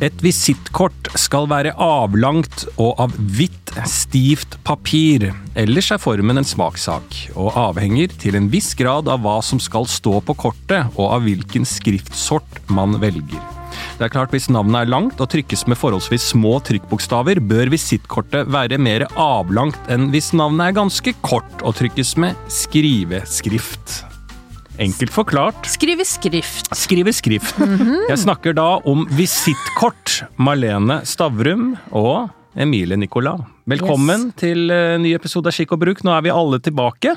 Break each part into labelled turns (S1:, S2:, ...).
S1: Et visittkort skal være avlangt og av hvitt, stivt papir. Ellers er formen en smakssak, og avhenger til en viss grad av hva som skal stå på kortet, og av hvilken skriftsort man velger. Det er klart Hvis navnet er langt og trykkes med forholdsvis små trykkbokstaver, bør visittkortet være mer avlangt enn hvis navnet er ganske kort og trykkes med skriveskrift. Enkelt forklart.
S2: Skrive skrift.
S1: Skriver skrift. Jeg snakker da om visittkort. Malene Stavrum og Emilie Nicolas. Velkommen til eh, ny episode av Skikk og bruk. Nå er vi alle tilbake.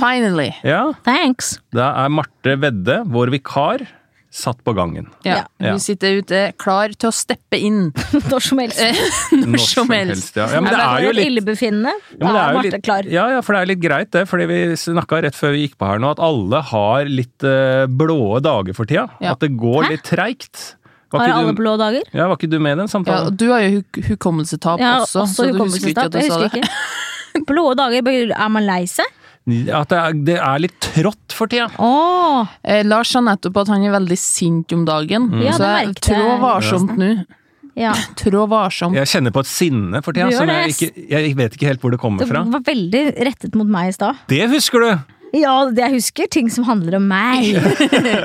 S2: Finally.
S1: Ja,
S3: Thanks.
S1: Da er Marte Vedde, vår vikar, satt på gangen.
S2: Ja.
S1: Ja.
S2: Hun sitter ute klar til å steppe inn
S3: Når som helst.
S1: Når
S2: som helst.
S1: Ja. Ja, men
S3: Nei,
S1: det
S3: bare
S1: er jo
S3: et
S1: litt
S3: illebefinnende.
S1: Ja, men
S3: da
S1: det
S3: er
S1: jo
S3: Marte
S1: litt,
S3: klar.
S1: Ja, ja, for det er litt greit det, fordi vi snakka rett før vi gikk på her nå, at alle har litt eh, blåe dager for tida.
S2: Ja.
S1: At det går
S3: Hæ?
S1: litt treigt. Var,
S3: Har
S1: ikke
S3: alle
S1: du-
S3: blå dager?
S1: ja, var ikke du med i den
S2: Ja,
S1: samtalen?
S2: og du har jo huk hukommelsestap
S3: Ja,
S2: også, så du husker ikke at
S3: hukommelsestap.
S2: du
S3: Jeg
S2: sa
S3: husker
S2: det.
S3: ikke. Blå dager, betyr- er man lei seg?
S1: At det er, det er litt trått for tida.
S3: Åh,
S2: Eh, Lars sa nettopp at han er veldig sint om dagen,
S3: Ja,
S2: så jeg
S3: det merket jeg.
S2: trå varsomt nå.
S3: ja.
S2: Trå varsomt.
S1: Jeg kjenner på et sinne for tida
S3: Du gjør
S1: som jeg,
S3: det.
S1: ikke, jeg vet ikke helt hvor det kommer
S3: Det
S1: fra.
S3: var veldig rettet mot meg i stad.
S1: Det husker du!
S3: Ja, det jeg husker ting som handler om meg. jeg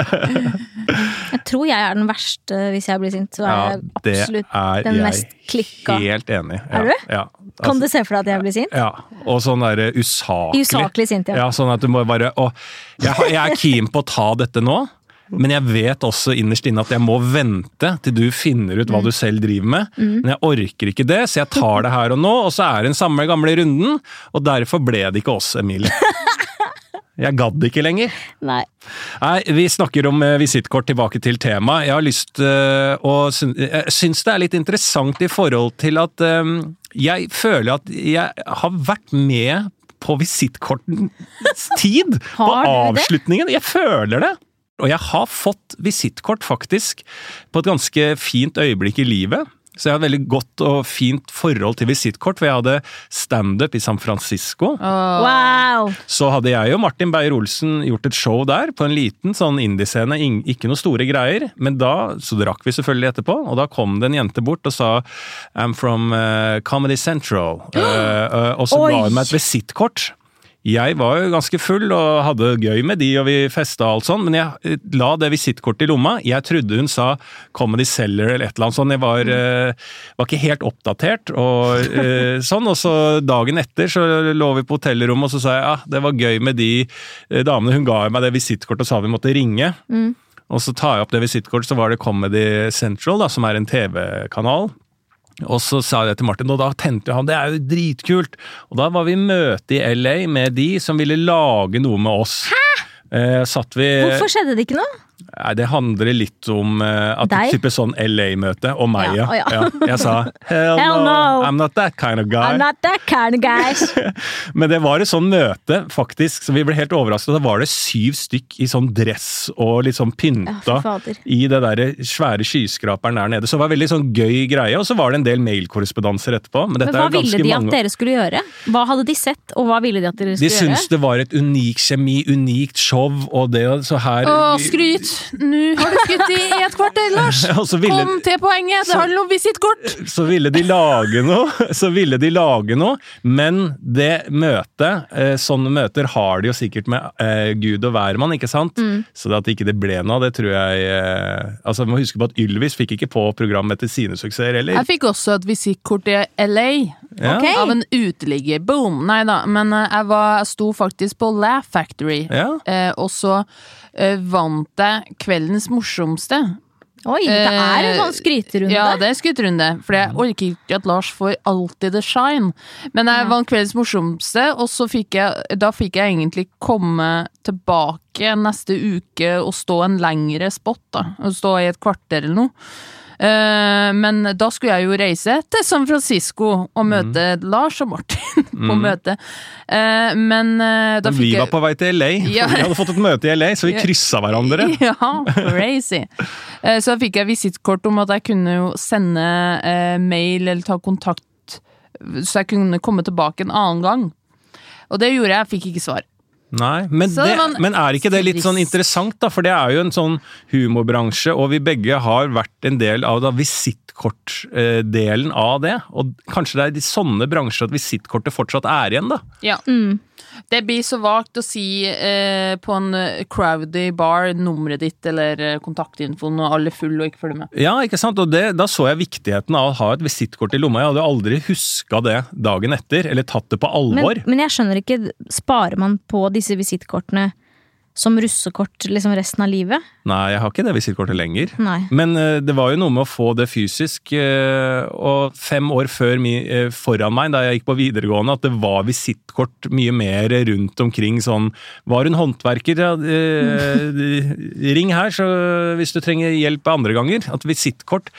S3: tror jeg er den verste eh, hvis jeg blir sint. Så er jeg
S1: det
S3: absolutt
S1: er
S3: den
S1: jeg
S3: mest klikka.
S1: Helt enig. Ja,
S3: Er du det?
S1: Ja.
S3: Kan du
S1: Altså,
S3: se for deg at jeg blir sint?
S1: ja. Og sånn derre usaklig.
S3: Usaklig sint, ja.
S1: Ja, sånn at du må bare å, jeg, har- jeg er keen på å ta dette nå, men jeg vet også innerst inne at jeg må vente til du finner ut hva du selv driver med.
S3: Mm.
S1: Men jeg orker ikke det, så jeg tar det her og nå, og så er det den samme gamle runden. Og derfor ble det ikke oss, Emilie. Jeg gadd ikke lenger.
S3: Nei.
S1: Nei, Vi snakker om eh, visittkort tilbake til temaet. Jeg har lyst eh, å syn- Jeg syns det er litt interessant i forhold til at eh, jeg føler at jeg har vært med på visittkortens tid. på
S3: Har du det?
S1: avslutningen. Jeg føler det. Og jeg har fått visittkort, faktisk, på et ganske fint øyeblikk i livet. Så jeg har et veldig godt og fint forhold til visittkort, for jeg hadde standup i San Francisco.
S3: Wow!
S1: Så hadde jeg og Martin Beyer-Olsen gjort et show der, på en liten sånn indiescene, ing- ikke noe store greier. Men da, så drakk vi selvfølgelig etterpå, og da kom det en jente bort og sa I'm from eh, Comedy Central. Eh, eh, og så
S3: Oi!
S1: ga hun meg et visittkort. Jeg var jo ganske full og hadde gøy med de, og vi festa og alt sånn, men jeg eh, la det visittkortet i lomma. Jeg trodde hun sa Comedy Cellar eller et eller annet sånt. Jeg var, eh, var ikke helt oppdatert og eh, sånn. Og så dagen etter så lå vi på hotellrommet, og så sa jeg ja, det var gøy med de eh, damene. Hun ga meg det visittkortet og sa vi måtte ringe. Og så tar jeg opp det visittkortet, så var det Comedy Central, da, som er en TV-kanal. Og så sa jeg det til Martin, og da tente han, det er jo dritkult! Og da var vi i møte i LA med de som ville lage noe med oss. Eh, satt vi
S3: Hvorfor skjedde det ikke noe?
S1: Nei, det handler litt om eh, at
S3: Deg?
S1: type sånn LA-møte, og meg, ja.
S3: Ja, å ja.
S1: Jeg sa hell, no,
S3: Hell no.
S1: I'm not that kind of guy.
S3: I'm not that kind of guy.
S1: Men det var et sånn møte, faktisk, så vi ble helt overrasket. Da var det syv stykk i sånn dress og litt sånn pynta
S3: Ja, fy fader.
S1: i det der svære skyskraperen der nede. Så det var veldig sånn gøy greie, og så var det en del mailkorrespondanser etterpå. Men dette
S3: Men hva
S1: er jo
S3: ville
S1: ganske
S3: de at
S1: mange...
S3: dere skulle gjøre? Hva hadde de sett, og hva ville de at dere
S1: De
S3: skulle
S1: syntes
S3: gjøre?
S1: det var et unikt kjemi, unikt show, og det så her
S2: Å, skryt! Nå har du skutt i et kvarter, Lars!
S1: Og så ville-
S2: Kom til poenget! Det handler om visittkort!
S1: så ville de lage noe, så ville de lage noe, men det møtet, eh, sånne møter har de jo sikkert med eh, Gud og hvermann, ikke sant?
S2: Mm.
S1: Så det at ikke det ble noe, av det tror jeg, eh, altså vi må huske på at Ylvis fikk ikke på programmet til sine suksesser, eller?
S2: Jeg fikk også et visittkort i LA.
S1: Ja.
S3: Ok.
S2: Av en uteligger. Boom! Nei da, men eh, jeg, var, jeg sto faktisk på Laugh Factory.
S1: Ja.
S2: Eh, og så eh, vant jeg kveldens morsomste.
S3: Oi, det er en sånn skryterunde.
S2: Ja, det er skryterunde. For jeg orker ikke at Lars får alltid the shine. Men jeg vant kveldens morsomste, og så fikk jeg, da fikk jeg egentlig komme tilbake neste uke og stå en lengre spot. da. Og stå i et kvarter eller noe. Eh, Men da skulle jeg jo reise til San Francisco og møte
S1: Mm.
S2: Lars og Martin på møte. Eh, Men eh, da
S1: Men vi
S2: fikk
S1: var
S2: jeg
S1: på vei til LA, for
S2: Ja.
S1: vi hadde fått et møte i LA, så vi kryssa hverandre.
S2: Ja, crazy. Eh, Så da fikk jeg visittkort om at jeg kunne jo sende eh, mail eller ta kontakt, så jeg kunne komme tilbake en annen gang. Og det gjorde jeg, jeg fikk ikke svar.
S1: Nei, men,
S2: Så
S1: det,
S2: man-
S1: men er ikke det litt sånn
S2: Trist.
S1: interessant, da? For det er jo en sånn humorbransje, og vi begge har vært en del av da visittkortdelen av det. Og kanskje det er i sånne bransjer at visittkortet fortsatt er igjen, da?
S2: Ja. Det blir så vagt å si eh, på en eh, crowdy bar nummeret ditt eller eh, kontaktinfoen, og alle er full og ikke følger med.
S1: Ja, ikke sant? Og det, da så jeg viktigheten av å ha et visittkort i lomma. Jeg hadde aldri huska det dagen etter, eller tatt det på alvor.
S3: Men, men jeg skjønner ikke, sparer man på disse visittkortene som russekort liksom resten av livet?
S1: Nei, jeg har ikke det visittkortet lenger.
S3: Nei.
S1: Men eh, det var jo noe med å få det fysisk, eh, og fem år før, mi- eh, foran meg, da jeg gikk på videregående, at det var visittkort mye mer rundt omkring sånn Var hun håndverker, ja, eh, ring her så hvis du trenger hjelp andre ganger. At visittkort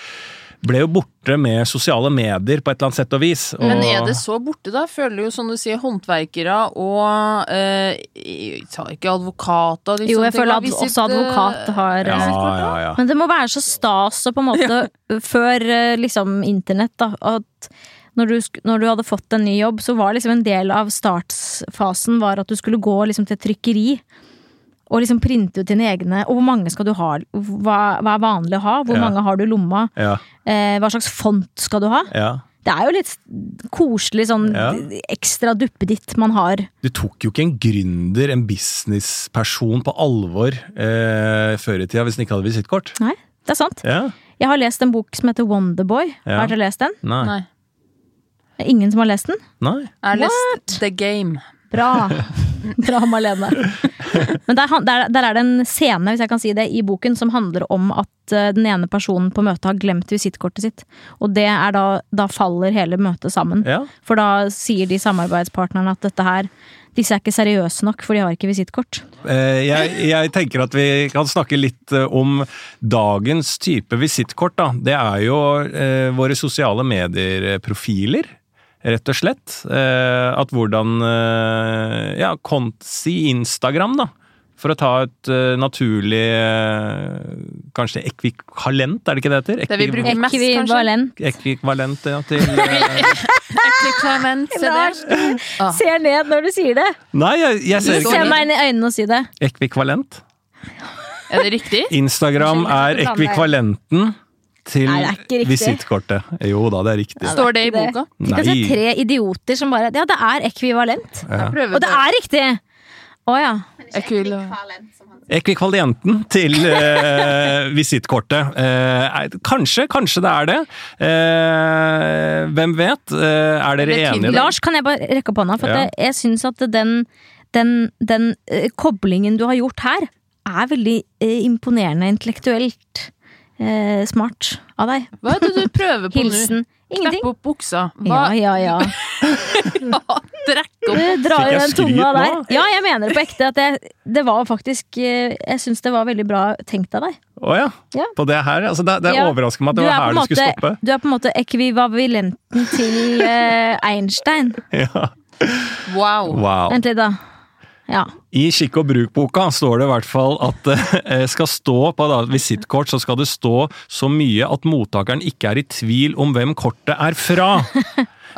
S1: ble jo borte med sosiale medier på et eller annet sett og vis. Og,
S2: Men er det så borte, da? Jeg Føler jo, som du sier, håndverkere og eh, Jeg tar ikke advokater
S3: Jo, jeg føler at også advokat har
S1: ja,
S3: eh,
S1: ja, ja.
S3: Men det må være så stas og på en måte før eh, liksom internett, da. At når du, sk- når du hadde fått en ny jobb, så var liksom en del av startfasen var at du skulle gå liksom til et trykkeri. Og liksom printe ut dine egne. Og hvor mange skal du ha? Hva, hva er vanlig å ha? Hvor
S1: Ja.
S3: mange har du i lomma?
S1: Ja,
S3: Eh, hva slags font skal du ha?
S1: ja.
S3: Det er jo litt s- koselig sånn
S1: Ja.
S3: ekstra duppeditt man har.
S1: Du tok jo ikke en gründer, en businessperson, på alvor eh, før i tida hvis den ikke hadde visittkort.
S3: Nei, det er sant.
S1: Ja.
S3: Jeg har lest en bok som heter Wonderboy.
S1: Ja.
S3: Har dere lest den?
S1: Nei.
S2: Nei.
S3: Det er Ingen som har lest den?
S1: Nei.
S2: Jeg har lest The Game.
S3: Bra! Bra, Malene. Men der, han- der, der er det en scene hvis jeg kan si det, i boken som handler om at eh, den ene personen på møtet har glemt visittkortet sitt. Og det er da, da faller hele møtet sammen.
S1: Ja.
S3: For da sier de samarbeidspartnerne at dette her, disse er ikke seriøse nok, for de har ikke visittkort.
S1: Eh, Jeg, jeg tenker at vi kan snakke litt eh, om dagens type visittkort. da. Det er jo eh, våre sosiale medier-profiler, rett og slett. Eh, at hvordan eh, Ja, konti Instagram, da. For å ta et eh, naturlig eh, Kanskje ekvivalent, er det ikke det heter?
S2: Det vi bruker mest, kanskje.
S3: Ekvivalent.
S1: Ekvivalent ja, til eh,
S2: Ekviklement, se der. Ah.
S3: Ser ned når du sier det!
S1: Nei, jeg, jeg ser
S3: Se
S1: ikke
S3: meg inn i øynene og si det.
S1: ekvikvalent.
S2: Er det riktig?
S1: Instagram er
S3: Unnskyld, jeg blander.
S1: ekvikvalenten til
S3: Nei, det er ikke riktig.
S1: visittkortet. Jo da, det er riktig.
S2: Står det i boka?
S3: Du kan se
S1: Nei.
S3: tre idioter som bare Ja, det er ekvivalent!
S2: Jeg prøver
S3: Og det
S2: bare.
S3: er riktig! Å ja.
S2: Ekvil-
S1: Ekvikvalenten til eh, visittkortet. Eh, er- kanskje, kanskje det er det. Eh, hvem vet? Eh, er dere
S2: Det er
S1: enige?
S2: tydelig.
S1: da?
S3: Lars, kan jeg bare rekke opp hånda? For at
S1: Ja.
S3: jeg, jeg syns at den, den, den eh, koblingen du har gjort her, er veldig eh, imponerende intellektuelt eh, smart av deg.
S2: Hva er det du prøver på nå?
S3: Hilsen ingenting.
S2: Knepp opp buksa. Hva?
S3: Ja, ja, ja.
S2: Drekk opp.
S3: Du drar
S1: Fikk
S3: jo
S1: jeg
S3: den
S1: skryt
S3: tunga der.
S1: nå?
S3: Ja, jeg mener det på ekte. At jeg, det var faktisk eh, Jeg syns det var veldig bra tenkt av deg.
S1: Å ja.
S3: Ja.
S1: På det her? Altså, det det
S3: Ja.
S1: overrasker meg at det var
S3: på
S1: her
S3: en
S1: du skulle
S3: måte,
S1: stoppe.
S3: du er på en måte ekvivalenten til eh, Einstein.
S1: Ja.
S2: Wow.
S1: Wow.
S3: Vent litt, da. Ja.
S1: I skikk og bruk-boka står det i hvert fall at det skal stå på da, visittkort så skal det stå så mye at mottakeren ikke er i tvil om hvem kortet er fra.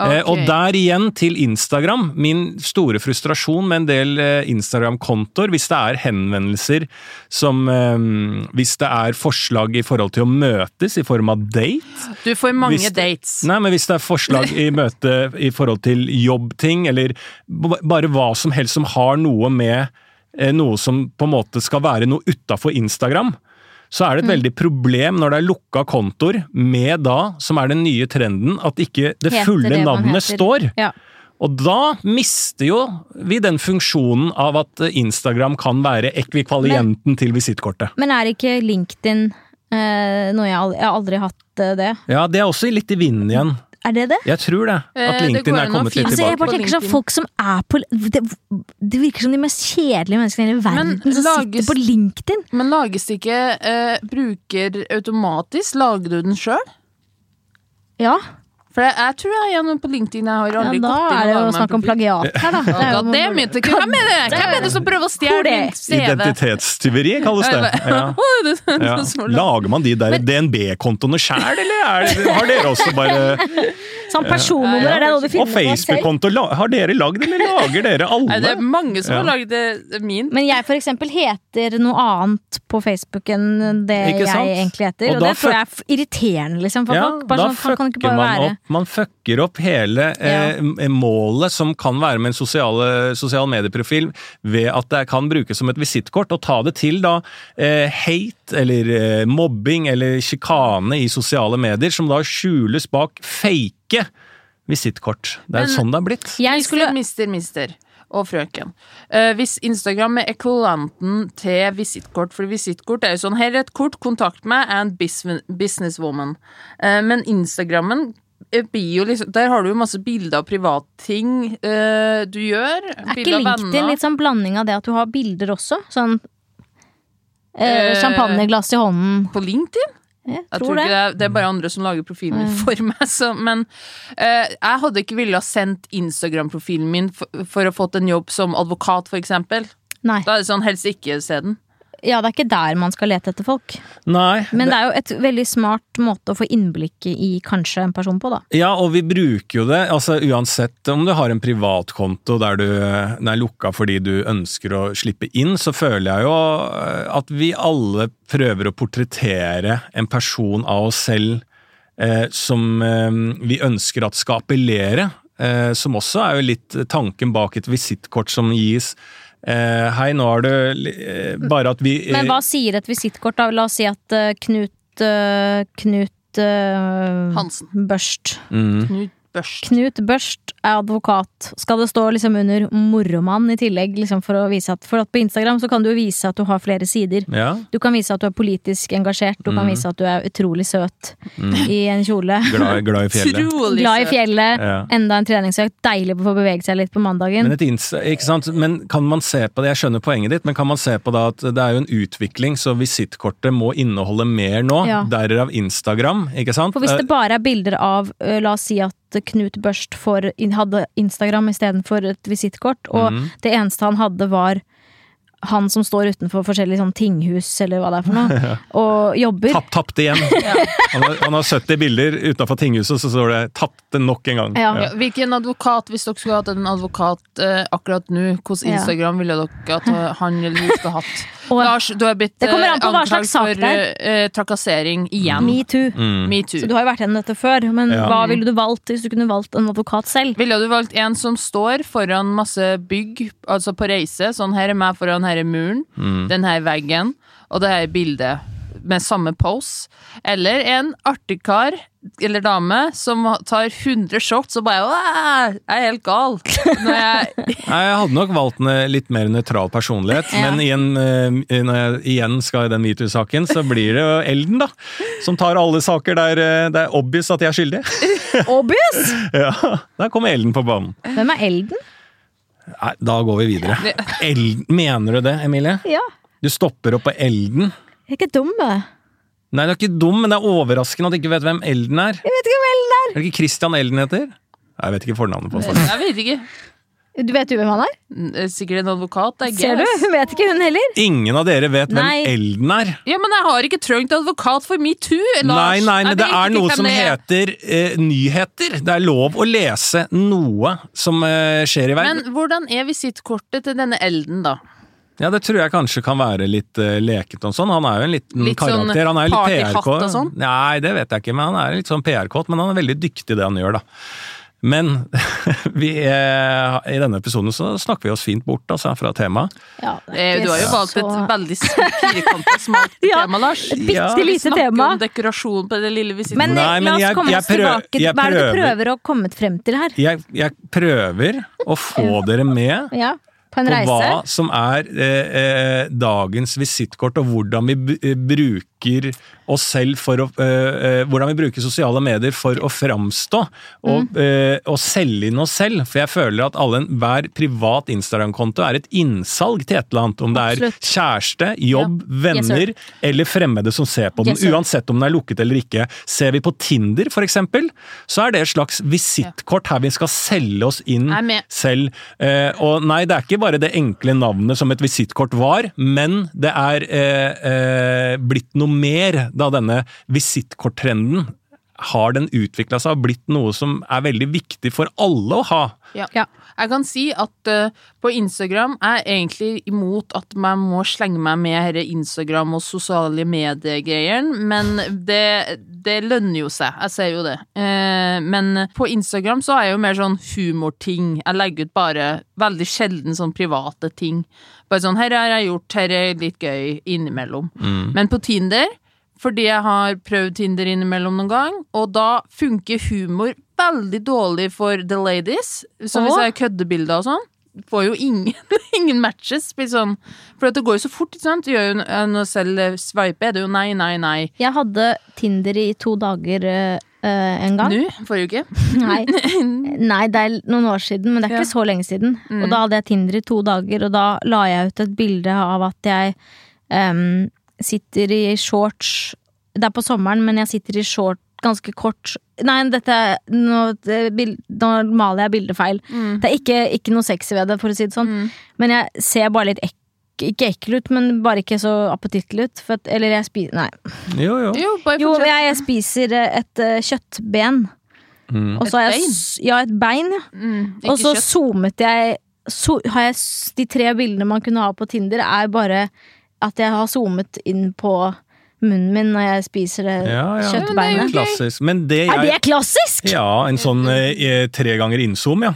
S1: Eh, Og
S2: Ok.
S1: der igjen til Instagram. Min store frustrasjon med en del eh, Instagram-kontoer, hvis det er henvendelser som eh, Hvis det er forslag i forhold til å møtes i form av date,
S2: Du får mange
S1: Hvis-
S2: dates.
S1: Nei, men hvis det er forslag i møte i forhold til jobbting, eller b- bare hva som helst som har noe med eh, noe som på en måte skal være noe utafor Instagram, så er det et
S3: Mm.
S1: veldig problem når det er lukka kontoer med da, som er den nye trenden, at ikke det
S3: Heter
S1: fulle
S3: det man
S1: navnet
S3: heter.
S1: står.
S3: ja.
S1: Og da mister jo vi den funksjonen av at eh, Instagram kan være ekvikvalienten til visittkortet.
S3: Men er ikke LinkedIn eh, noe jeg, al- jeg har aldri hatt eh, det?
S1: Ja, det er også litt i vinden igjen.
S3: Er det det?
S1: Jeg tror det.
S2: Eh,
S1: At
S2: det går
S1: LinkedIn
S2: an
S1: er
S2: å
S1: kommet litt
S2: finne-
S3: Altså,
S1: tilbake.
S3: jeg bare tenker sånn,
S2: LinkedIn.
S3: folk som er på det, det virker som de mest kjedelige menneskene i hele verden
S2: Men
S3: som
S2: lages-
S3: sitter på LinkedIn.
S2: Men lages det ikke eh, bruker automatisk? Lager du den sjøl?
S3: Ja,
S2: For jeg, jeg tror jeg er gjennom på LinkedIn. Jeg har
S3: ja
S2: aldri
S3: da
S2: gått inn og
S3: er det jo
S2: laget meg en
S3: snakk om
S2: profil.
S3: plagiat her, da. Det er
S2: Ja,
S3: jo-
S2: det er mitt. Hvem er det Hvem er det som prøver å
S3: Hvor
S2: stjele
S3: det?
S2: min CV?
S1: Identitetstyveri kalles det. Ja.
S2: Å, det er sånn
S1: Ja.
S2: så- så-
S1: Lager man de der DNB-kontoene sjæl, eller er det, har dere også bare
S3: Sånn personnummer, er det noe du
S1: Og
S3: finner på selv?
S1: Facebook-konto. la- Har dere lagd, eller lager dere
S2: Nei, det er
S1: alle?
S2: mange som har
S1: Ja.
S2: lagd eh, min.
S3: Men jeg for eksempel heter noe annet på Facebook enn det
S1: Ikke
S3: jeg
S1: sant?
S3: egentlig heter.
S1: Og
S3: Og,
S1: da
S3: det tror jeg er f- irriterende liksom, for
S1: Ja,
S3: folk.
S1: da
S3: Bare sånn, kan, kan det
S1: fucker
S3: ikke bare
S1: man
S3: være
S1: opp, man fucker opp hele eh, m- målet som kan være med en sosiale, sosial medieprofil, ved at det kan brukes som et visittkort, og ta det til da eh, hate eller eh, mobbing eller sjikane i sosiale medier, som da skjules bak fake visittkort. Det er sånn det er blitt.
S3: Jeg skulle
S2: Mister, mister, mister. Og frøken. Eh, hvis Instagram er ekvivalenten til visittkort, for visittkort er jo sånn Her er et kort, kontakt meg, jeg er en bus- businesswoman. Eh, men Instagrammen eh, blir jo liksom Der har du jo masse bilder av privatting eh, du gjør.
S3: Er ikke LinkedIn litt sånn blanding av det at du har bilder også? Sånn eh,
S2: Eh,
S3: champagneglass i hånden.
S2: På LinkedIn?
S3: Jeg
S2: Jeg
S3: tror det. Mm.
S2: ikke det. er- det er bare andre som lager profilen min for meg. Så, men eh, jeg hadde ikke villet ha sendt Instagram-profilen min for, for å fått en jobb som advokat, for eksempel.
S3: Nei.
S2: Da er det sånn helst ikke se den.
S3: Ja, det er ikke der man skal lete etter folk.
S1: Nei,
S3: Men det er jo et veldig smart måte å få innblikk i kanskje en person på, da.
S1: Ja, og vi bruker jo det, altså uansett om du har en privatkonto der du den er lukka fordi du ønsker å slippe inn, så føler jeg jo eh, at vi alle prøver å portrettere en person av oss selv eh, som eh, vi ønsker at skal appellere, eh, som også er jo litt tanken bak et visittkort som gis. Eh, hei, nå er det li- eh, bare at vi eh,
S3: Men hva sier et visittkort, da? La oss si at eh, Knut eh, Knut eh,
S2: Hansen.
S3: Børst.
S1: mm,
S2: Knut Børst.
S3: Knut Børst er advokat. Skal det stå liksom under 'moromann' i tillegg? Liksom for å vise at, for at på Instagram så kan du jo vise at du har flere sider.
S1: Ja.
S3: Du kan vise at du er politisk engasjert, du
S1: Mm.
S3: kan vise at du er utrolig søt i en kjole.
S1: Glad, glad i fjellet.
S2: Utrolig
S3: Glad i
S2: søt.
S3: fjellet,
S1: Ja.
S3: enda en treningsøkt, deilig å få bevege seg litt på mandagen.
S1: Men, et insta, ikke sant? men kan man se på det, jeg skjønner poenget ditt, men kan man se på da at det er jo en utvikling, så visittkortet må inneholde mer nå,
S3: Ja.
S1: derav Instagram, ikke sant? Eh,
S3: For hvis det bare er bilder av, ø, la oss si at Knut Børst får, in- hadde Instagram istedenfor et visittkort, og
S1: Mm.
S3: det eneste han hadde var han som står utenfor forskjellige sånn tinghus, eller hva det er for noe, og jobber.
S1: Tapp, tapt igjen! han, har, han har 70 bilder utenfor tinghuset, så står det 'tapte nok en gang'.
S3: Ja.
S2: Ja, hvilken advokat, hvis dere skulle hatt en advokat eh, akkurat nå, hvordan
S3: Ja.
S2: Instagram ville dere at eh, han eller hun skulle hatt?
S3: Og-
S2: Lars, du er blitt
S3: Det kommer
S2: eh,
S3: an på hva
S2: anklagd
S3: slags sak
S2: for
S3: det er.
S2: eh, trakassering igjen. Mm.
S3: Metoo.
S2: Metoo.
S3: Så du har jo vært gjennom dette før, men
S1: Mm. Ja.
S3: hva ville du valgt hvis du kunne valgt en advokat selv?
S2: Ville du valgt en som står foran masse bygg, altså på reise? Sånn, her er meg foran her er muren,
S1: Mm.
S2: den her veggen, og det her bildet med samme pose. Eller en artig kar eller dame som tar 100 shots og bare «Åh, Jeg er helt gal. Når jeg,
S1: Nei, Jeg hadde nok valgt en eh, litt mer nøytral personlighet,
S3: Ja.
S1: men igjen, eh, når jeg igjen skal i den metoo-saken, så blir det jo Elden, da. Som tar alle saker der eh, det er obvious at de er skyldige.
S3: Obvious!
S1: ja, der kommer Elden på banen.
S3: Hvem er Elden?
S1: Nei, da går vi videre. Elden, mener du det, Emilie?
S3: Ja.
S1: Du stopper opp på Elden?
S3: Jeg er ikke dum, jeg.
S1: Nei, du er ikke dum, men det er overraskende at du ikke vet hvem Elden er.
S3: Jeg vet ikke hvem Elden er!
S1: Er det ikke Christian Elden heter? Nei, Jeg vet ikke fornavnet på ham.
S2: jeg vet ikke.
S3: Du vet jo hvem han er?
S2: Sikkert en advokat. I
S3: Ser du?
S2: guess.
S3: Hun vet ikke, hun heller.
S1: Ingen av dere vet hvem
S3: Nei.
S1: Elden er.
S2: Ja, men jeg har ikke trengt advokat for metoo, Lars.
S1: Nei, nei, men
S2: Jeg
S1: det
S2: vet
S1: er
S2: ikke
S1: noe
S2: hvem
S1: som
S2: det er.
S1: heter eh, nyheter. Det er lov å lese noe som eh, skjer i verden.
S2: Men hvordan er visittkortet til denne Elden, da?
S1: Ja, det tror jeg kanskje kan være litt eh, lekent og sånn. Han er jo en liten
S2: Litt sånn
S1: karakter. Han er jo litt
S2: partyhatt
S1: PR-kåt.
S2: og sånn?
S1: Nei, det vet jeg ikke, men han er litt sånn PR-kåt. Men han er veldig dyktig i det han gjør, da. Men vi, eh, i denne episoden så snakker vi oss fint bort altså, fra temaet.
S3: Ja, det er
S2: Eh,
S3: ikke
S2: Du har jo
S3: så-
S2: valgt et veldig firkanta, smalt
S3: Ja,
S2: tema, Lars.
S3: et bitte
S2: Skal vi
S3: lite
S2: snakke
S3: tema.
S2: om dekorasjon på det lille visittkortet?
S3: Men, eh,
S1: Nei,
S3: la
S1: men
S3: oss
S1: jeg-
S3: komme
S1: jeg
S3: oss
S1: prøver-
S3: tilbake til
S1: jeg
S3: hva er det du
S1: prøver-
S3: prøver å komme frem til her?
S1: Jeg, jeg prøver å få dere med
S3: Ja, På en
S1: på
S3: reise?
S1: hva som er eh, eh, dagens visittkort, og hvordan vi b eh, bruker oss selv for å eh, eh, Hvordan vi bruker sosiale medier for å framstå og,
S3: Mm.
S1: eh, og selge inn oss selv. For jeg føler at alle, hver privat Instagram-konto er et innsalg til et eller annet. Om det er
S3: Absolutt.
S1: kjæreste, jobb,
S3: Yes, sir.
S1: venner eller fremmede som ser på den.
S3: Yes, sir.
S1: Uansett om den er lukket eller ikke. Ser vi på Tinder f.eks., så er det et slags visittkort her vi skal selge oss inn
S2: Jeg er med.
S1: selv. Eh, og nei, det er ikke bare det enkle navnet som et visittkort var, men det er eh, eh, blitt noe mer da denne visittkorttrenden har den utvikla seg og blitt noe som er veldig viktig for alle å ha.
S2: Ja.
S3: Ja.
S2: Jeg kan si at eh, på Instagram er jeg egentlig imot at man må slenge meg med herre Instagram og sosiale medier-greiene, men det, det lønner jo seg. Jeg ser jo det. Eh, men på Instagram så er jeg jo mer sånn humorting. Jeg legger ut bare veldig sjelden sånn private ting. Bare sånn 'Her har jeg gjort, her er litt gøy innimellom'. Men på Tinder fordi jeg har prøvd Tinder innimellom noen gang, og da funker humor veldig dårlig for the ladies. Så hvis
S3: Åh.
S2: jeg har køddebilder og sånn, får jo ingen, ingen matches. Blir sånn, for at det går jo så fort, ikke sant? Du Gjør jo, når jeg selv sveiper, er det jo nei, nei, nei.
S3: Jeg hadde Tinder i to dager eh, eh, en gang.
S2: Nå, forrige uke. Mm.
S3: Nei. Nei, det er noen år siden, men det er ikke
S2: Ja. Mm.
S3: så lenge siden. Og da hadde jeg Tinder i to dager, og da la jeg ut et bilde av at jeg em, sitter i shorts Det er på sommeren, men jeg sitter i short ganske kort Nei, dette er- nå, det bil- nå maler jeg bildet feil. Det er ikke, ikke noe sexy ved det, for å si det
S2: Mm.
S3: sånn. Men jeg ser bare litt ek, ikke ekkel ut, men bare ikke så appetittlig ut. For at, eller jeg spiser Nei.
S1: Jo, jo.
S2: Jo, bare
S3: Jo,
S2: fortsett.
S3: jeg, jeg spiser eh, et eh, kjøttben.
S1: Mm.
S3: Og så
S2: Et
S3: har jeg s- Ja, et bein, ja.
S2: Mm, ikke
S3: Og så
S2: kjøtt.
S3: zoomet jeg so, har jeg, s- De tre bildene man kunne ha på Tinder, er bare at jeg har zoomet inn på munnen min når jeg spiser det
S1: Ja, ja.
S2: Men
S3: kjøttbeinet.
S2: det
S1: Klassisk. Men det
S3: Er det
S1: jeg
S3: klassisk?!
S1: Ja, en sånn eh, tre ganger innzoom, ja.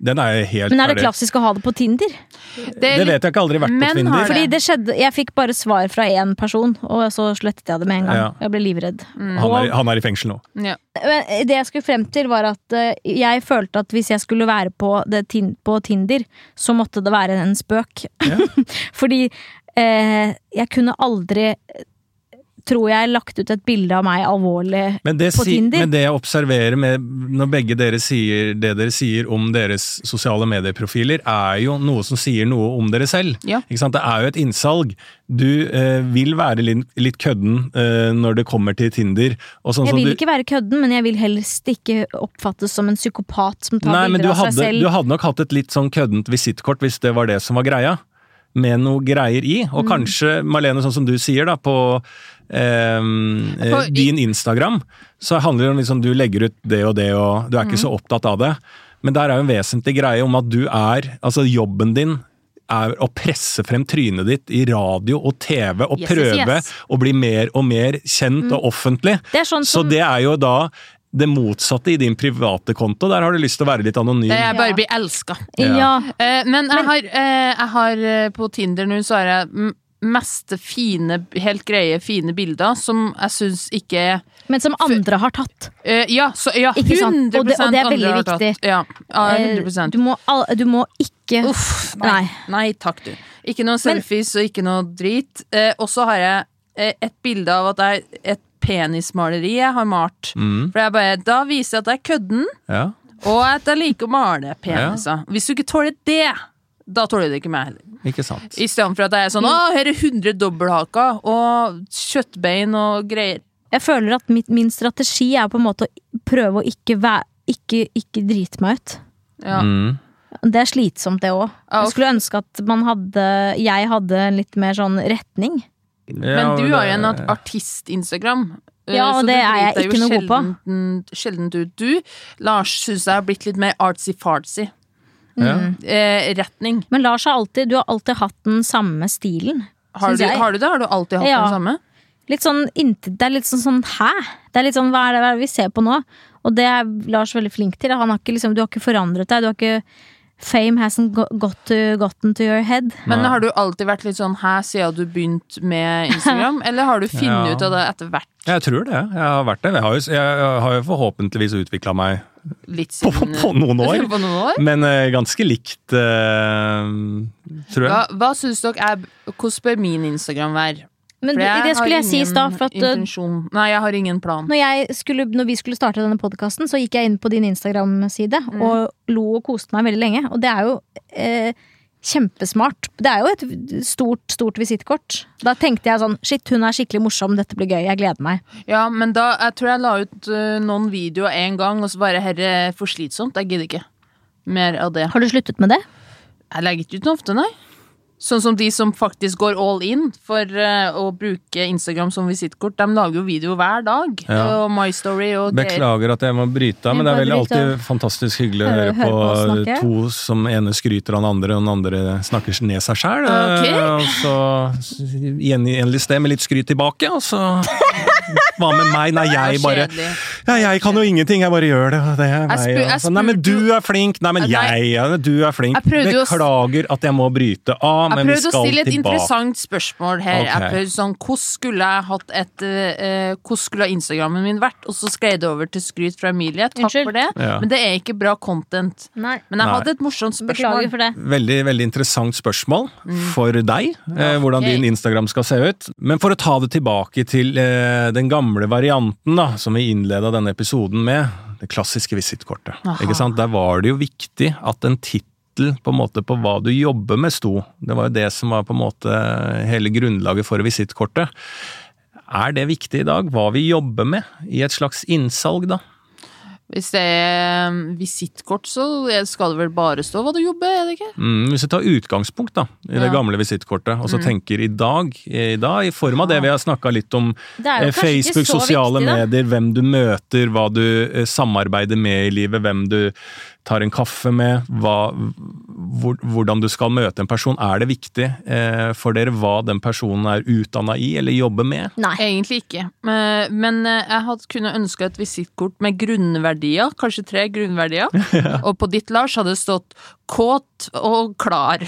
S1: Den er jo helt
S3: Men er det
S1: ferdig.
S3: klassisk å ha det på Tinder?
S2: Mm. Det er
S1: Det
S2: litt
S1: vet jeg ikke, aldri vært på
S2: Men har
S1: Tinder.
S2: det-
S3: Fordi det skjedde, Jeg fikk bare svar fra én person, og så slettet jeg det med en gang.
S1: Ja.
S3: Jeg ble livredd.
S2: Mm.
S1: Han er, han er i fengsel nå.
S2: ja.
S3: Men eh, det jeg skulle frem til, var at eh, jeg følte at hvis jeg skulle være på, det, tin- på Tinder, så måtte det være en spøk.
S1: Ja.
S3: Fordi eh, jeg kunne aldri, eh, tror jeg, lagt ut et bilde av meg alvorlig.
S1: Men det,
S3: På
S1: si,
S3: Tinder?
S1: men det jeg observerer med når begge dere sier det dere sier om deres sosiale medieprofiler, er jo noe som sier noe om dere selv.
S2: Ja.
S1: Ikke sant? Det er jo et innsalg. Du eh, vil være litt, litt kødden eh, når det kommer til Tinder. Og sånn
S3: Jeg
S1: som
S3: vil
S1: du-
S3: ikke være kødden, men jeg vil helst ikke oppfattes som en psykopat som tar
S1: Nei, men du
S3: bilder av
S1: hadde,
S3: seg selv.
S1: du hadde nok hatt et litt sånn køddent visittkort hvis det var det som var greia. Med noe greier i. Og
S3: Mm.
S1: kanskje, Marlene, sånn som du sier, da, på ehm, eh,
S2: På i-
S1: din Instagram, så handler det om liksom du legger ut det og det, og du er
S3: Mm.
S1: ikke så opptatt av det. Men der er jo en vesentlig greie om at du er Altså, jobben din er å presse frem trynet ditt i radio og TV, og
S2: Yes, yes,
S1: prøve
S2: yes.
S1: å bli mer og mer
S3: Mm.
S1: kjent og offentlig.
S3: Det er sånn
S1: Så
S3: som
S1: det er jo da det motsatte i din private konto. Der har du lyst til å være litt anonym.
S2: Det er
S3: Ja.
S2: bare bli elska.
S1: Ja.
S3: ja.
S2: Eh, men jeg har, eh, jeg har eh, på Tinder nå, så har jeg m- mest fine, helt greie, fine bilder som jeg syns ikke
S3: Men som andre har tatt.
S2: eh, Ja, så, ja 100
S3: Ikke sant? Og det- og det er veldig
S2: andre har tatt.
S3: viktig.
S2: Ja, ja
S3: Eh,
S2: 100
S3: Du må, al- du må ikke
S2: Uff, nei.
S3: Nei.
S2: Nei takk, du. Ikke noen selfies og ikke noe drit. Eh, og så har jeg eh, et bilde av at jeg et penismaleri jeg har malt. For jeg bare, da viser jeg at jeg er kødden,
S1: Mm, Ja.
S2: og at jeg liker å male peniser. Hvis du ikke tåler det, da tåler du ikke meg heller.
S1: Ikke sant.
S2: I stedet for at jeg er sånn Å, her er 100 dobbelthaker og kjøttbein og greier.
S3: Jeg føler at mitt, min strategi er på en måte å prøve å ikke, væ- ikke, ikke drite meg ut.
S2: Ja.
S1: Mm.
S3: Det er slitsomt, det òg.
S2: Ja, og-
S3: Jeg skulle ønske at man hadde Jeg hadde en litt mer sånn retning.
S2: Men du har jo en
S1: at...
S2: artist-Instagram. eh,
S3: Ja, og
S2: så du
S3: det er jeg
S2: driter deg
S3: ikke
S2: jo
S3: noe god på.
S2: sjelden- Sjelden ut. Du, Lars, syns jeg har blitt litt mer artsy-fartsy.
S1: Ja.
S2: Eh, retning.
S3: Men Lars har alltid Du har alltid hatt den samme stilen.
S2: Har
S3: Syns
S2: du,
S3: jeg.
S2: har du det? Har du alltid hatt
S3: Ja.
S2: den samme?
S3: Litt sånn intet Det er litt sånn sånn hæ? Det er litt sånn hva er det, hva er det vi ser på nå? Og det er Lars veldig flink til. Han har ikke, liksom, du har ikke forandret deg. Du har ikke Fame hasn't go- got to, gotten to your head.
S2: Men har du alltid vært litt sånn her siden du begynte med Instagram, eller har du funnet
S1: Ja.
S2: ut av det etter hvert?
S1: Jeg tror det. Jeg har vært det. Jeg har jo, jeg har jo forhåpentligvis utvikla meg
S2: Litt
S1: på,
S2: siden
S1: på noen år,
S2: På noen år?
S1: men eh, ganske likt, eh, tror
S2: Hva,
S1: jeg.
S2: hva syns dere er Hvordan bør min Instagram være?
S3: Men
S2: For
S3: det,
S2: jeg
S3: det
S2: har
S3: skulle jeg si i
S2: ingen
S3: stad, for at uh,
S2: intensjon. Nei, jeg har ingen plan.
S3: når, jeg skulle, når vi skulle starte denne podkasten, så gikk jeg inn på din Instagram-side og lo og koste meg veldig lenge. Og det er jo eh, kjempesmart. Det er jo et stort, stort visittkort. Da tenkte jeg sånn Shit, hun er skikkelig morsom, dette blir gøy, jeg gleder meg.
S2: Ja, men da, Jeg tror jeg la ut øh, noen videoer én gang, og så bare herre, for slitsomt. Jeg gidder ikke mer av det.
S3: Har du sluttet med det?
S2: Jeg legger ikke ut noe ofte, nei. Sånn som de som faktisk går all in for eh, å bruke Instagram som visittkort. De lager jo video hver dag.
S1: Ja.
S2: Og My Story og det-
S1: Beklager at jeg må bryte av, men det
S3: Jeg
S1: er vel
S3: bare bryter
S1: alltid fantastisk hyggelig å høre
S3: Høre-
S1: på,
S3: høre på oss snakke.
S1: to som ene skryter av den andre, og den andre snakker ned seg sjæl.
S2: Ah, Ok.
S1: Så gjengjeldes det med litt skryt tilbake, og så Hva med meg? Nei, jeg
S2: Det var
S1: bare
S2: kjedelig.
S1: ja, Jeg kan jo ingenting, jeg bare gjør det. og det er meg,
S2: spur- jeg
S1: og så, Nei, men du
S2: spurte
S1: er flink! Nei, men jeg!
S2: Nei.
S1: Ja, du er flink.
S2: Jeg prøvde jo å s-
S1: Beklager at jeg må bryte av,
S2: Jeg
S1: men vi
S2: prøvde å
S1: skal
S2: stille et
S1: tilbake.
S2: interessant spørsmål her.
S1: Ok.
S2: Jeg prøvde sånn, Hvordan skulle jeg hatt et eh, Hvordan skulle Instagrammen min vært? Og så skled det over til skryt fra Emilie. Takk
S3: Unnskyld.
S2: for det.
S1: Ja.
S2: Men det er ikke bra content.
S3: Nei.
S2: Men jeg
S1: Nei.
S2: hadde et morsomt spørsmål.
S3: Beklager for det.
S1: Veldig veldig interessant spørsmål for deg, eh, hvordan
S2: ok.
S1: din Instagram skal se ut. Men for å ta det tilbake til eh, den gamle varianten da, som vi innleda denne episoden med, det klassiske visittkortet.
S2: Aha.
S1: Ikke sant? Der var det jo viktig at en tittel på en måte på hva du jobber med sto. Det var jo det som var på en måte hele grunnlaget for visittkortet. Er det viktig i dag, hva vi jobber med i et slags innsalg, da?
S2: Hvis det er eh, visittkort, så er- skal det vel bare stå hva du jobber, er det ikke?
S1: Mm, hvis vi tar utgangspunkt da, i det
S2: Ja.
S1: gamle visittkortet,
S3: Mm.
S1: og så tenker i dag, i dag, i form av det vi har snakka litt om
S3: Det er jo
S1: eh,
S3: kanskje ikke
S1: Facebook,
S3: så
S1: sosiale
S3: viktig, da.
S1: medier, hvem du møter, hva du eh, samarbeider med i livet, hvem du tar en kaffe med, hva, hvor, hvordan du skal møte en person. Er det viktig eh, for dere hva den personen er utdanna i eller jobber med?
S3: Nei.
S2: Egentlig ikke. Eh, Men eh, jeg hadde kunne ønska et visittkort med grunnverdier, kanskje tre grunnverdier. Og på ditt, Lars, hadde det stått kåt og klar.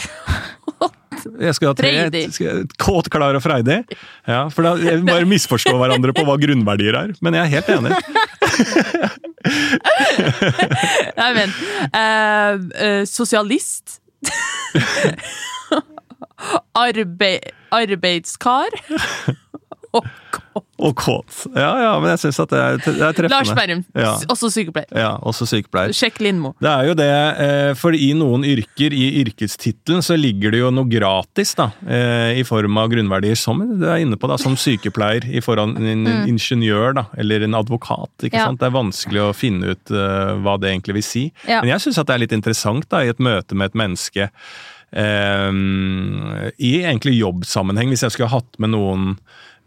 S1: Jeg skulle ha tre.
S2: Freidig.
S1: skal jeg- Kåt, klar og freidig. Ja, for da jeg bare misforstår hverandre på hva grunnverdier er. Men jeg er helt enig.
S2: Nei, men eh, eh, Sosialist. Arbeid, arbeidskar. Og kåt.
S1: Og kåt. Ja, ja, men jeg syns at det er, det er treffende.
S2: Lars Berrum,
S1: Ja.
S2: også sykepleier.
S1: Ja, også sykepleier.
S2: Sjekk Lindmo.
S1: Det er jo det, eh, for i noen yrker, i yrkestittelen, så ligger det jo noe gratis, da. eh, I form av grunnverdier, som du er inne på, da, som sykepleier i forhold til en en ingeniør, da. Eller en advokat, ikke
S3: Mm. Ja.
S1: sant. Det er vanskelig å finne ut eh, hva det egentlig vil si.
S3: Ja.
S1: Men jeg syns at det er litt interessant, da, i et møte med et menneske. eh, I egentlig jobbsammenheng, hvis jeg skulle ha hatt med noen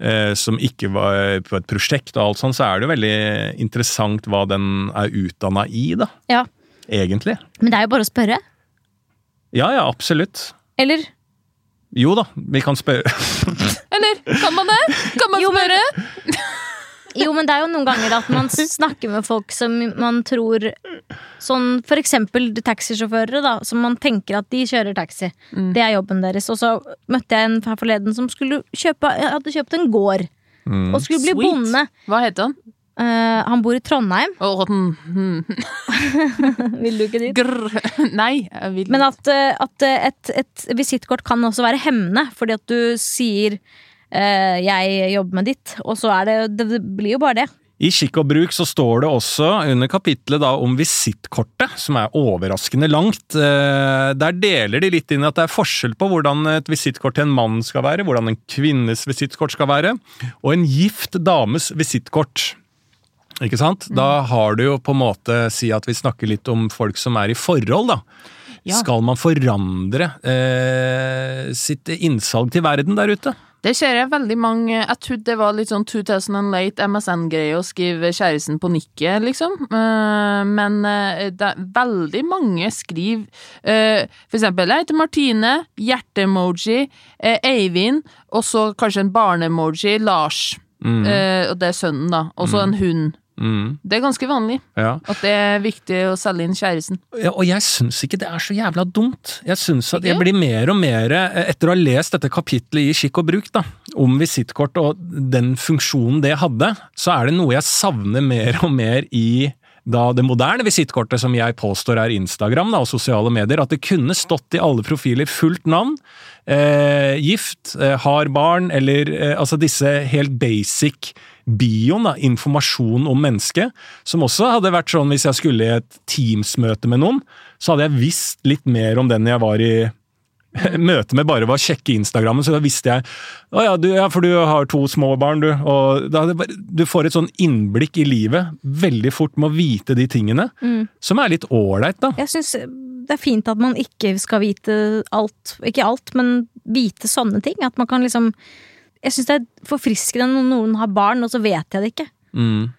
S1: eh, som ikke var på et prosjekt og alt sånt, så er det jo veldig interessant hva den er utdanna i, da
S3: Ja.
S1: egentlig.
S3: Men det er jo bare å spørre.
S1: Ja, ja, absolutt.
S3: Eller?
S1: Jo da, vi kan spørre
S2: Eller kan man det? Kan man spørre?
S3: Jo, men det er jo noen ganger at man snakker med folk som man tror Sånn for eksempel taxisjåførere, da, som man tenker at de kjører taxi. Det er jobben deres. Og så møtte jeg en her forleden som skulle kjøpe, hadde kjøpt en gård. Og skulle bli
S2: Sweet.
S3: bonde.
S2: Hva heter han?
S3: Eh, han bor i Trondheim.
S2: Å, den- hmm,
S3: Vil du ikke dit?
S2: Grr. Nei, jeg vil
S3: Men at, eh, at eh, et, et visittkort kan også være hemmende, fordi at du sier eh, 'jeg jobber med ditt', og så er det, det Det blir jo bare det.
S1: I Skikk og bruk så står det også under kapitlet da om visittkortet, som er overraskende langt. Eh, Der deler de litt inn i at det er forskjell på hvordan et visittkort til en mann skal være, hvordan en kvinnes visittkort skal være, og en gift dames visittkort. Ikke sant? Da har du jo på en måte Si at vi snakker litt om folk som er i forhold, da.
S2: Ja.
S1: Skal man forandre eh, sitt innsalg til verden der ute?
S2: Det ser jeg veldig mange Jeg trodde det var litt sånn 2008 MSN-greie å skrive kjæresten på nikket, liksom. Eh, Men eh, det er veldig mange skriver eh, For eksempel, jeg heter Martine, hjerte-emoji, eh, Eivind, og så kanskje en barne-emoji, Lars. Eh, Og det er sønnen, da. Og så en hund.
S1: Mm,
S2: Det er ganske vanlig
S1: ja.
S2: at det er viktig å selge inn kjæresten.
S1: Ja, og jeg syns ikke det er så jævla dumt. Jeg syns at jeg
S2: Ikke?
S1: blir mer og mer, eh, etter å ha lest dette kapitlet i Skikk og bruk, da, om visittkort og den funksjonen det hadde, så er det noe jeg savner mer og mer i da det moderne visittkortet, som jeg påstår er Instagram da, og sosiale medier, at det kunne stått i alle profiler fullt navn, eh, gift, eh, har barn, eller eh, altså disse helt basic bioen, da, informasjon om mennesket, som også hadde vært sånn hvis jeg skulle i et Teams-møte med noen, så hadde jeg visst litt mer om den jeg var i møte med bare var å sjekke Instagrammen, så da visste jeg Å ja, du, ja, for du har to små barn, du. Og da, hadde jeg bare- du får et sånn innblikk i livet veldig fort med å vite de tingene, som er litt ålreit, da.
S3: Jeg syns det er fint at man ikke skal vite alt, ikke alt, men vite sånne ting. At man kan liksom Jeg syns det er forfriskende når noen har barn, og så vet jeg det ikke.
S1: Mm.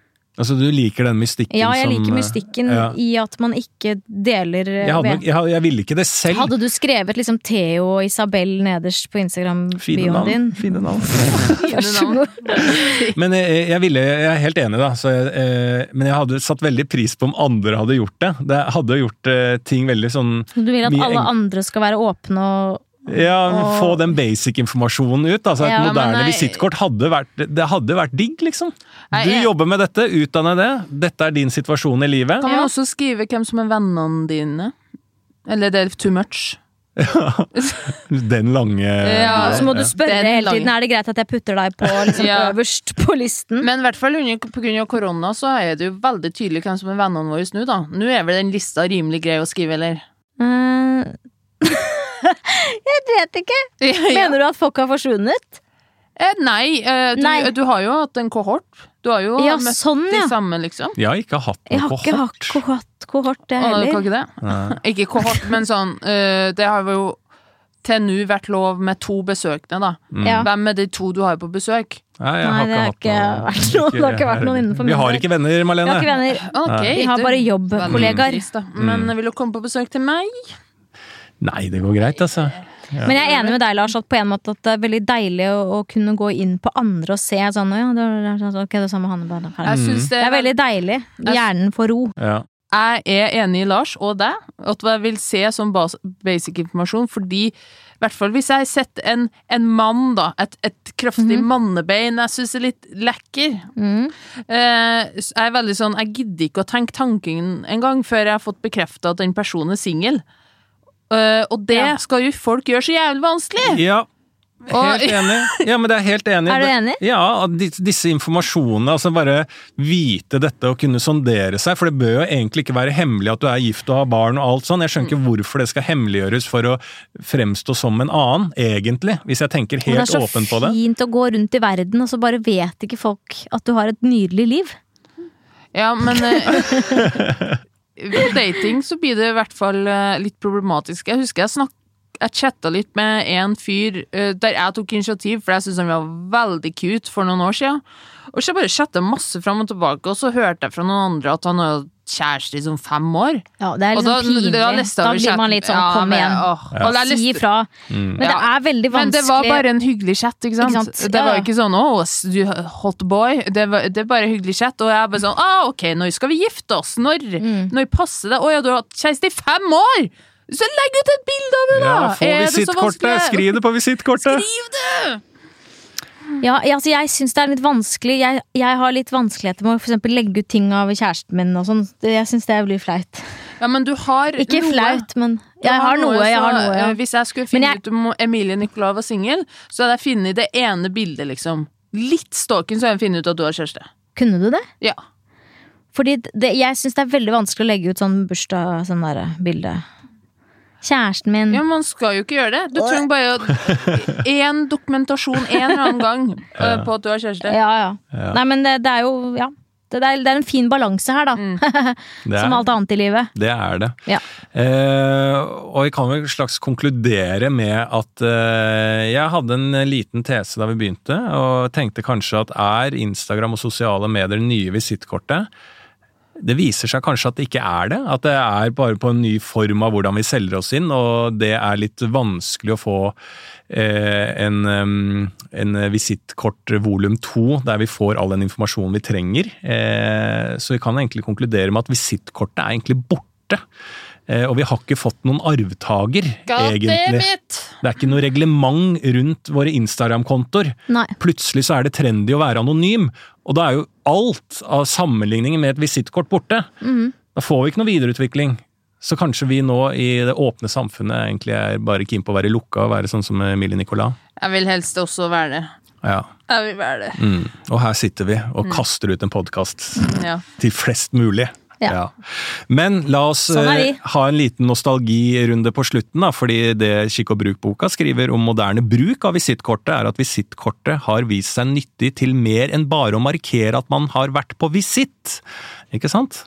S1: Altså, du liker den mystikken
S3: Ja, jeg
S1: som
S3: liker
S1: eh,
S3: mystikken
S1: ja.
S3: i at man ikke deler eh,
S1: Jeg, hadde nok,
S3: ved.
S1: jeg, hadde- jeg ville ikke det selv.
S3: Hadde du skrevet liksom Theo og Isabel nederst på
S1: Fine
S3: Instagram-bioen din?
S1: navn. Fine navn.
S3: Vær så god.
S1: Men eh, jeg, jeg, ville, jeg er helt enig, da. Så jeg, eh, men jeg hadde satt veldig pris på om andre hadde gjort det. Det hadde gjort eh, ting veldig sånn
S3: Du vil at
S1: Mye
S3: alle
S1: eng-
S3: andre skal være åpne og
S1: Ja,
S3: Og-
S1: få den basic-informasjonen ut. Altså, et
S3: Ja, men
S1: moderne
S2: nei.
S1: visittkort hadde vært Det hadde vært digg, liksom.
S2: Nei,
S1: Du
S2: jeg-
S1: jobber med dette, utdanne det. Dette er din situasjon i livet.
S2: Kan man
S3: Ja.
S2: også skrive hvem som er vennene dine? Eller det er too much.
S1: Den lange
S2: Ja,
S3: Og så må du spørre
S2: Den
S3: hele tiden
S2: lange.
S3: er det greit at jeg putter deg på liksom,
S2: Ja.
S3: øverst på listen.
S2: Men i hvert fall under, på grunn av korona så er det jo veldig tydelig hvem som er vennene våre nå, da. Nå er vel den lista rimelig grei å skrive, eller?
S3: Eh, jeg vet ikke.
S2: Ja.
S3: Mener du at folk har forsvunnet?
S2: Eh, Nei, eh, du,
S3: Nei.
S2: du har jo hatt en kohort. Du har jo
S3: Ja,
S2: møtt
S3: sånn,
S2: de
S3: ja.
S2: samme, liksom.
S1: Jeg har ikke hatt
S3: Jeg
S1: noe
S3: har ikke hatt
S1: kohort.
S3: kohort, kohort jeg
S2: Å, du kan
S3: heller.
S2: ikke det?
S1: Nei.
S2: Ikke kohort, men sånn eh, Det har jo til nå vært lov med to besøkende, da.
S3: Ja.
S2: Hvem er de to du har på besøk?
S1: Nei, jeg
S3: Nei,
S1: har
S3: det har
S1: ikke
S3: ikke
S1: hatt
S3: vært noe- det har ikke vært noen innenfor
S1: Vi
S3: min
S1: har
S3: del.
S1: ikke venner,
S3: Jeg har ikke
S1: Malene.
S3: venner.
S2: Ok,
S3: Vi har
S2: det-
S3: bare
S2: Veldig
S3: jobbkollegaer.
S2: trist, da. Men vil du komme på besøk til meg?
S1: Nei, det går greit, altså.
S3: Men jeg er enig med deg, Lars, at på en måte at det er veldig deilig å, å kunne gå inn på andre og se sånn «Å ja, det var- det var- Ok, det samme han bare
S2: Jeg synes det
S3: Det
S2: er
S3: er veldig deilig. Hjernen får ro.
S1: Ja.
S2: jeg er enig i Lars og deg, at jeg vil se som bas- basic informasjon, fordi i hvert fall hvis jeg setter en, en mann, da, et, et kraftig mannebein jeg syns er litt lekker
S3: Mm.
S2: eh, så Jeg er veldig sånn Jeg gidder ikke å tenke tanken engang før jeg har fått bekrefta at den personen er singel. Eh, og det
S3: Ja.
S2: skal jo folk gjøre så jævlig vanskelig!
S1: ja.
S2: Og-
S1: Helt enig. Ja, men det er helt enig.
S3: Er du enig?
S1: Ja, at dis- disse informasjonene, altså bare vite dette og kunne sondere seg, for det bør jo egentlig ikke være hemmelig at du er gift og har barn og alt sånn. Jeg skjønner ikke
S3: Mm.
S1: hvorfor det skal hemmeliggjøres for å fremstå som en annen, egentlig, hvis jeg tenker
S3: Men
S1: helt
S3: det er
S1: åpen på
S3: så
S1: det.
S3: fint å gå rundt i verden, og så bare vet ikke folk at du har et nydelig liv.
S2: Ja, men eh, På dating så blir det i hvert fall eh, litt problematisk. Jeg husker jeg snakk jeg chatta litt med en fyr eh, der jeg tok initiativ, for jeg syntes han var veldig cute for noen år siden. Og så bare chatta jeg masse fram og tilbake, og så hørte jeg fra noen andre at han hadde kjæreste i sånn fem år.
S3: Ja, det
S2: Og
S3: er liksom
S2: da-
S3: pinlig.
S2: da leste jeg
S3: Da
S2: over
S3: blir man
S2: chatten.
S3: litt sånn
S2: Ja, Mm.
S3: kom
S2: men,
S3: igjen,
S2: åh. Og da leste-
S3: si ifra. Men det
S2: Ja.
S3: er veldig vanskelig.
S2: Men det var bare en hyggelig chat, ikke sant?
S3: Ikke sant?
S2: Det
S3: Ja,
S2: var
S3: ja.
S2: ikke sånn 'å, s- du hot boy'. Det, var, det er bare hyggelig chat. Og jeg er bare sånn 'ah, ok, når skal vi gifte oss? Når,
S3: Mm.
S2: når passer det?' 'Å ja, du har hatt kjæreste i fem år!' Så legg ut et bilde av henne, da!
S1: Ja, få
S2: Er det så
S1: visittkortet!
S2: vanskelig?
S1: Skriv det på visittkortet!
S2: Skriv det!
S3: Ja, jeg- altså jeg syns det er litt vanskelig. Jeg, jeg har litt vanskeligheter med å for eksempel legge ut ting av kjæresten min og sånn. Jeg syns det blir flaut.
S2: Ja, men du har
S3: Ikke
S2: noe.
S3: flaut, men
S2: Du
S3: jeg har noe, jeg
S2: så,
S3: har noe.
S2: eh,
S3: Ja.
S2: Hvis jeg skulle finne
S3: Men jeg-
S2: ut om Emilie Nicolai var singel, så hadde jeg funnet det ene bildet, liksom. Litt stalking, så hadde jeg funnet ut at du har kjæreste.
S3: Kunne du det?
S2: Ja.
S3: Fordi det, jeg syns det er veldig vanskelig å legge ut sånn bursdag, sånn derre bilde. Kjæresten min.
S1: Mm.
S2: Ja, man skal jo ikke gjøre det. Du trenger bare én dokumentasjon en eller annen gang eh, på at du har kjæreste.
S3: Ja, ja. Nei, men det, det er jo Ja. Det, det, er, det er en fin balanse her, da.
S2: Mm.
S1: Det
S3: Som
S1: er
S3: alt annet i livet.
S1: det. Er det.
S3: Ja.
S1: Eh, og jeg kan vel slags konkludere med at eh, jeg hadde en liten tese da vi begynte, og tenkte kanskje at er Instagram og sosiale medier det nye visittkortet? Det viser seg kanskje at det ikke er det. At det er bare på en ny form av hvordan vi selger oss inn, og det er litt vanskelig å få eh, en, em, en visittkort volum to, der vi får all den informasjonen vi trenger. Eh, så vi kan egentlig konkludere med at visittkortet er egentlig borte. Eh, og vi har ikke fått noen arvtaker, egentlig.
S2: Goddammit!
S1: Det er ikke noe reglement rundt våre Instagram-kontoer.
S3: Nei.
S1: Plutselig så er det trendy å være anonym, og da er jo alt av sammenligninger med et visittkort borte. Da får vi ikke noe videreutvikling. Så kanskje vi nå i det åpne samfunnet egentlig er bare keen på å være lukka og være sånn som Emilie Nicolas.
S2: Jeg vil helst også være det.
S1: Ja.
S2: Jeg vil være det.
S1: Mm. Og her sitter vi og kaster ut en podkast
S2: Ja.
S1: til flest mulig.
S3: Ja.
S1: Men la oss
S3: Sånn er
S1: eh,
S3: vi.
S1: ha en liten nostalgirunde på slutten, da, fordi det Kikk og bruk-boka skriver om moderne bruk av visittkortet, er at visittkortet har vist seg nyttig til mer enn bare å markere at man har vært på visitt. Ikke sant?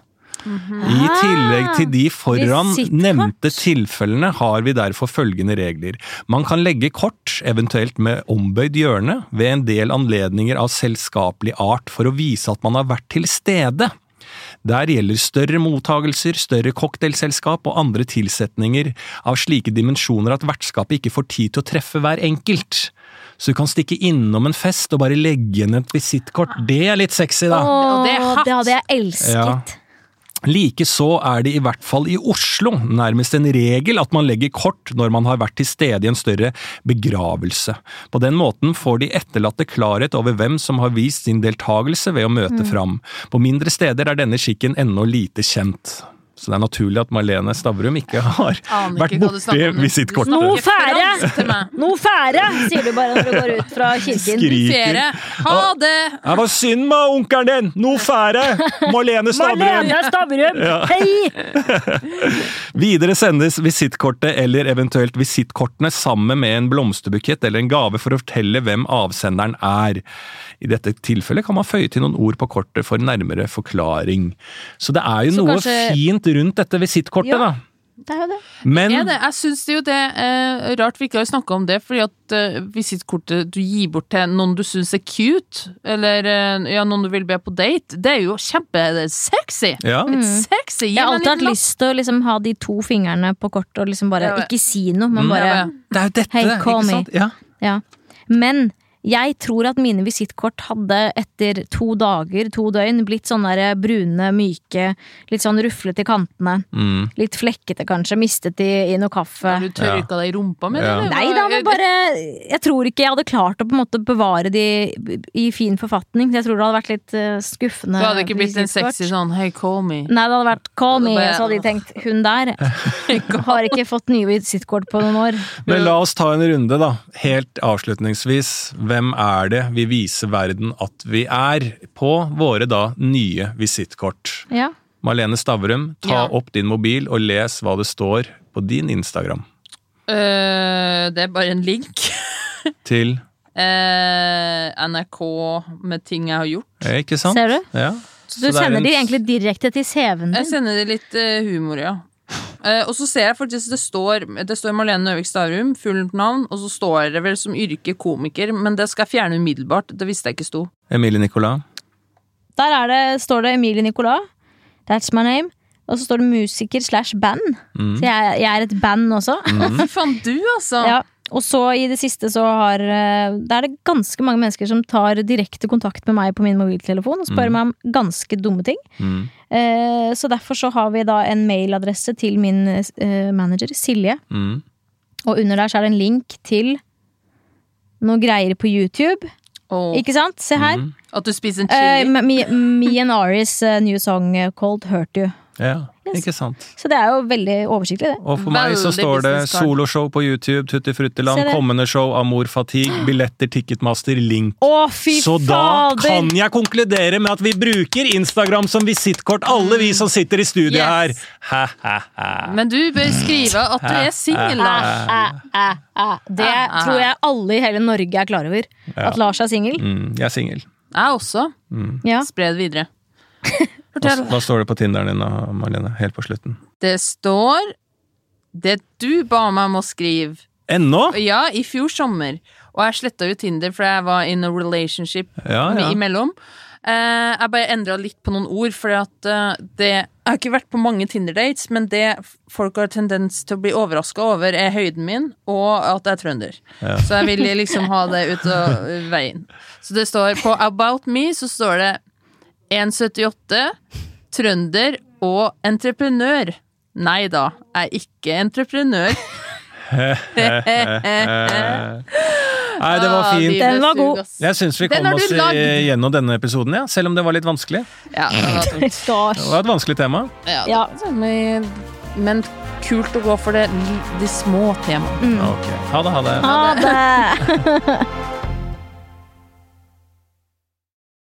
S3: Mhm.
S1: I tillegg til de foran
S3: Visittkort.
S1: nevnte tilfellene har vi derfor følgende regler. Man kan legge kort, eventuelt med ombøyd hjørne, ved en del anledninger av selskapelig art for å vise at man har vært til stede. Der gjelder større mottagelser, større cocktailselskap og andre tilsetninger av slike dimensjoner at vertskapet ikke får tid til å treffe hver enkelt. Så du kan stikke innom en fest og bare legge igjen et visittkort. Det er litt sexy, da.
S3: Åh,
S2: det er hatt.
S3: det hadde jeg elsket.
S1: Likeså er det i hvert fall i Oslo nærmest en regel at man legger kort når man har vært til stede i en større begravelse. På den måten får de etterlatte klarhet over hvem som har vist sin deltakelse ved å møte
S2: Mm.
S1: fram. På mindre steder er denne skikken ennå lite kjent. Så det er naturlig at Marlene Stavrum ikke har
S2: Aner
S1: vært
S2: ikke hva du snakker
S1: borti
S2: om.
S1: visittkortet.
S3: Nå
S2: Du snakker
S3: fære!
S2: fransk til meg.
S3: Noe fære, sier du bare når du går ut fra kirken.
S1: Skriker.
S2: Ferie. Ha det!
S1: Det var synd med onkelen din! Noe fære! Marlene Stavrum!
S3: Marlene Stavrum, hei!
S1: Videre sendes visittkortet eller eventuelt visittkortene sammen med en blomsterbukett eller en gave for å fortelle hvem avsenderen er. I dette tilfellet kan man føye til noen ord på kortet for nærmere forklaring. Så det er jo
S3: Så
S1: noe
S3: kanskje-
S1: fint rundt dette visittkortet,
S3: Ja.
S1: da.
S3: Det er jo det.
S1: Men
S2: Er det? Jeg syns det er jo det eh, rart vi ikke har snakka om det, fordi at eh, visittkortet du gir bort til noen du syns er cute, eller eh, ja, noen du vil be på date, det er jo kjempesexy!
S1: ja.
S3: Mm.
S2: Sexy! Gi
S3: Jeg har
S2: meg en
S3: alltid hatt
S2: liten lapp.
S3: lyst til å liksom ha de to fingrene på kortet og liksom bare
S2: Ja, ja.
S3: ikke si noe, men
S1: Mm,
S3: bare
S2: ja, ja.
S1: Det er jo dette,
S3: Hey, call
S1: ikke
S3: me.
S1: sant? Ja.
S3: Ja. Men jeg tror at mine visittkort hadde etter to dager, to døgn, blitt sånn der brune, myke, litt sånn ruflete i kantene.
S1: Mm.
S3: Litt flekkete, kanskje. Mistet i, i noe kaffe.
S2: Har du tørka deg i rumpa med
S1: Ja.
S2: det? eller?
S3: Nei da, men bare Jeg tror ikke jeg hadde klart å på en måte bevare de i fin forfatning. Jeg tror det hadde vært litt eh, skuffende.
S2: Du hadde ikke blitt en
S3: visittkort.
S2: sexy sånn hey, call me.
S3: Nei, det hadde vært call
S2: Det
S3: me,
S2: bare-
S3: så hadde de tenkt hun der har ikke fått nye visittkort på noen år.
S1: Men la oss ta en runde, da. Helt avslutningsvis. Hvem er det vi viser verden at vi er, på våre da nye visittkort?
S3: Ja.
S1: Marlene Stavrum, ta
S2: Ja.
S1: opp din mobil og les hva det står på din Instagram
S2: Eh, det er bare en link.
S1: til
S2: Eh, NRK med ting jeg har gjort.
S1: Eh, Ikke sant?
S3: Ser du?
S1: Ja.
S3: Så du
S1: det er
S3: sender
S1: en-
S3: de egentlig direkte til CV-en
S2: Jeg
S3: din.
S2: sender det litt eh, humor, ja. Eh, og så ser jeg faktisk det står, det står Marlene Nøvik Stavrum, fullt navn, og så står det vel som yrke komiker, men det skal jeg fjerne umiddelbart. Det visste jeg ikke sto.
S1: Emilie Nicolas.
S3: Der er det, står det Emilie Nicolas. That's my name. Og så står det musiker slash band. Så jeg, jeg er et band også.
S2: Å, fy faen, du, altså!
S3: Mhm. Ja. Og så i det siste så har eh, Da er det ganske mange mennesker som tar direkte kontakt med meg på min mobiltelefon og spør meg om ganske dumme ting.
S1: Mm.
S3: Eh, Så derfor så har vi da en mailadresse til min eh, manager, Silje.
S1: Mm.
S3: Og under der så er det en link til noe greier på YouTube.
S2: Og
S3: Ikke sant? Se her.
S2: at du spiser en
S3: Eh,
S2: Mhm. chili.
S3: me, me- me and Ari's eh, new song eh, called Hurt You.
S1: Ja,
S3: Yes.
S1: ikke sant.
S3: Så det er jo veldig oversiktlig, det.
S1: Og for meg så
S2: Veldig
S1: står det
S2: business card.
S1: soloshow på YouTube, Tutti Frutteland,
S3: Se det.
S1: kommende show, Amor Fatigue, billetter, Ticketmaster, link.
S3: Å, fy
S1: Så da
S3: fader!
S1: kan jeg konkludere med at vi bruker Instagram som visittkort, alle
S3: Mm.
S1: vi som sitter i studio her.
S2: Yes.
S3: Eh,
S1: Ha-ha-ha.
S2: Men du bør skrive at du er singel, Lars.
S3: Æ, æ, æ. Det
S2: Æ, æ.
S3: tror jeg alle i hele Norge er klar over. At Lars er singel.
S1: Mm, jeg er singel.
S2: Jeg også.
S3: Ja.
S2: Spre det videre.
S1: Hva,
S2: Fortell.
S1: hva står det på Tinderen din, da, Marlene? Helt på slutten.
S2: Det står det du ba meg om å skrive.
S1: Ennå?
S2: Ja, i fjor sommer. Og jeg sletta jo Tinder, for jeg var in a relationship
S1: Ja, Ah, ja.
S2: imellom. Eh, jeg bare endra litt på noen ord, for at eh, det Jeg har ikke vært på mange Tinder-dates, men det f- folk har tendens til å bli overraska over, er høyden min, og at jeg er trønder. Så jeg vil liksom ha det ut av veien. Så det står på About me, så står det 1,78, trønder og entreprenør. Nei da, jeg er ikke entreprenør.
S1: Eh, Nei, det var
S2: Ah,
S1: fint.
S2: livet
S3: Den var
S2: suger,
S3: god.
S2: ass.
S1: Jeg syns vi
S2: Den
S1: kom
S2: har du
S1: oss
S2: lagd.
S1: i- gjennom denne episoden, ja. selv om det var litt vanskelig.
S2: Ja, den var tung.
S1: Det var et vanskelig tema.
S2: ja,
S3: Ja.
S2: det var sånn, Men kult å gå for det, de små temaene.
S1: Ok. Ha det, ha det.
S3: Ha det!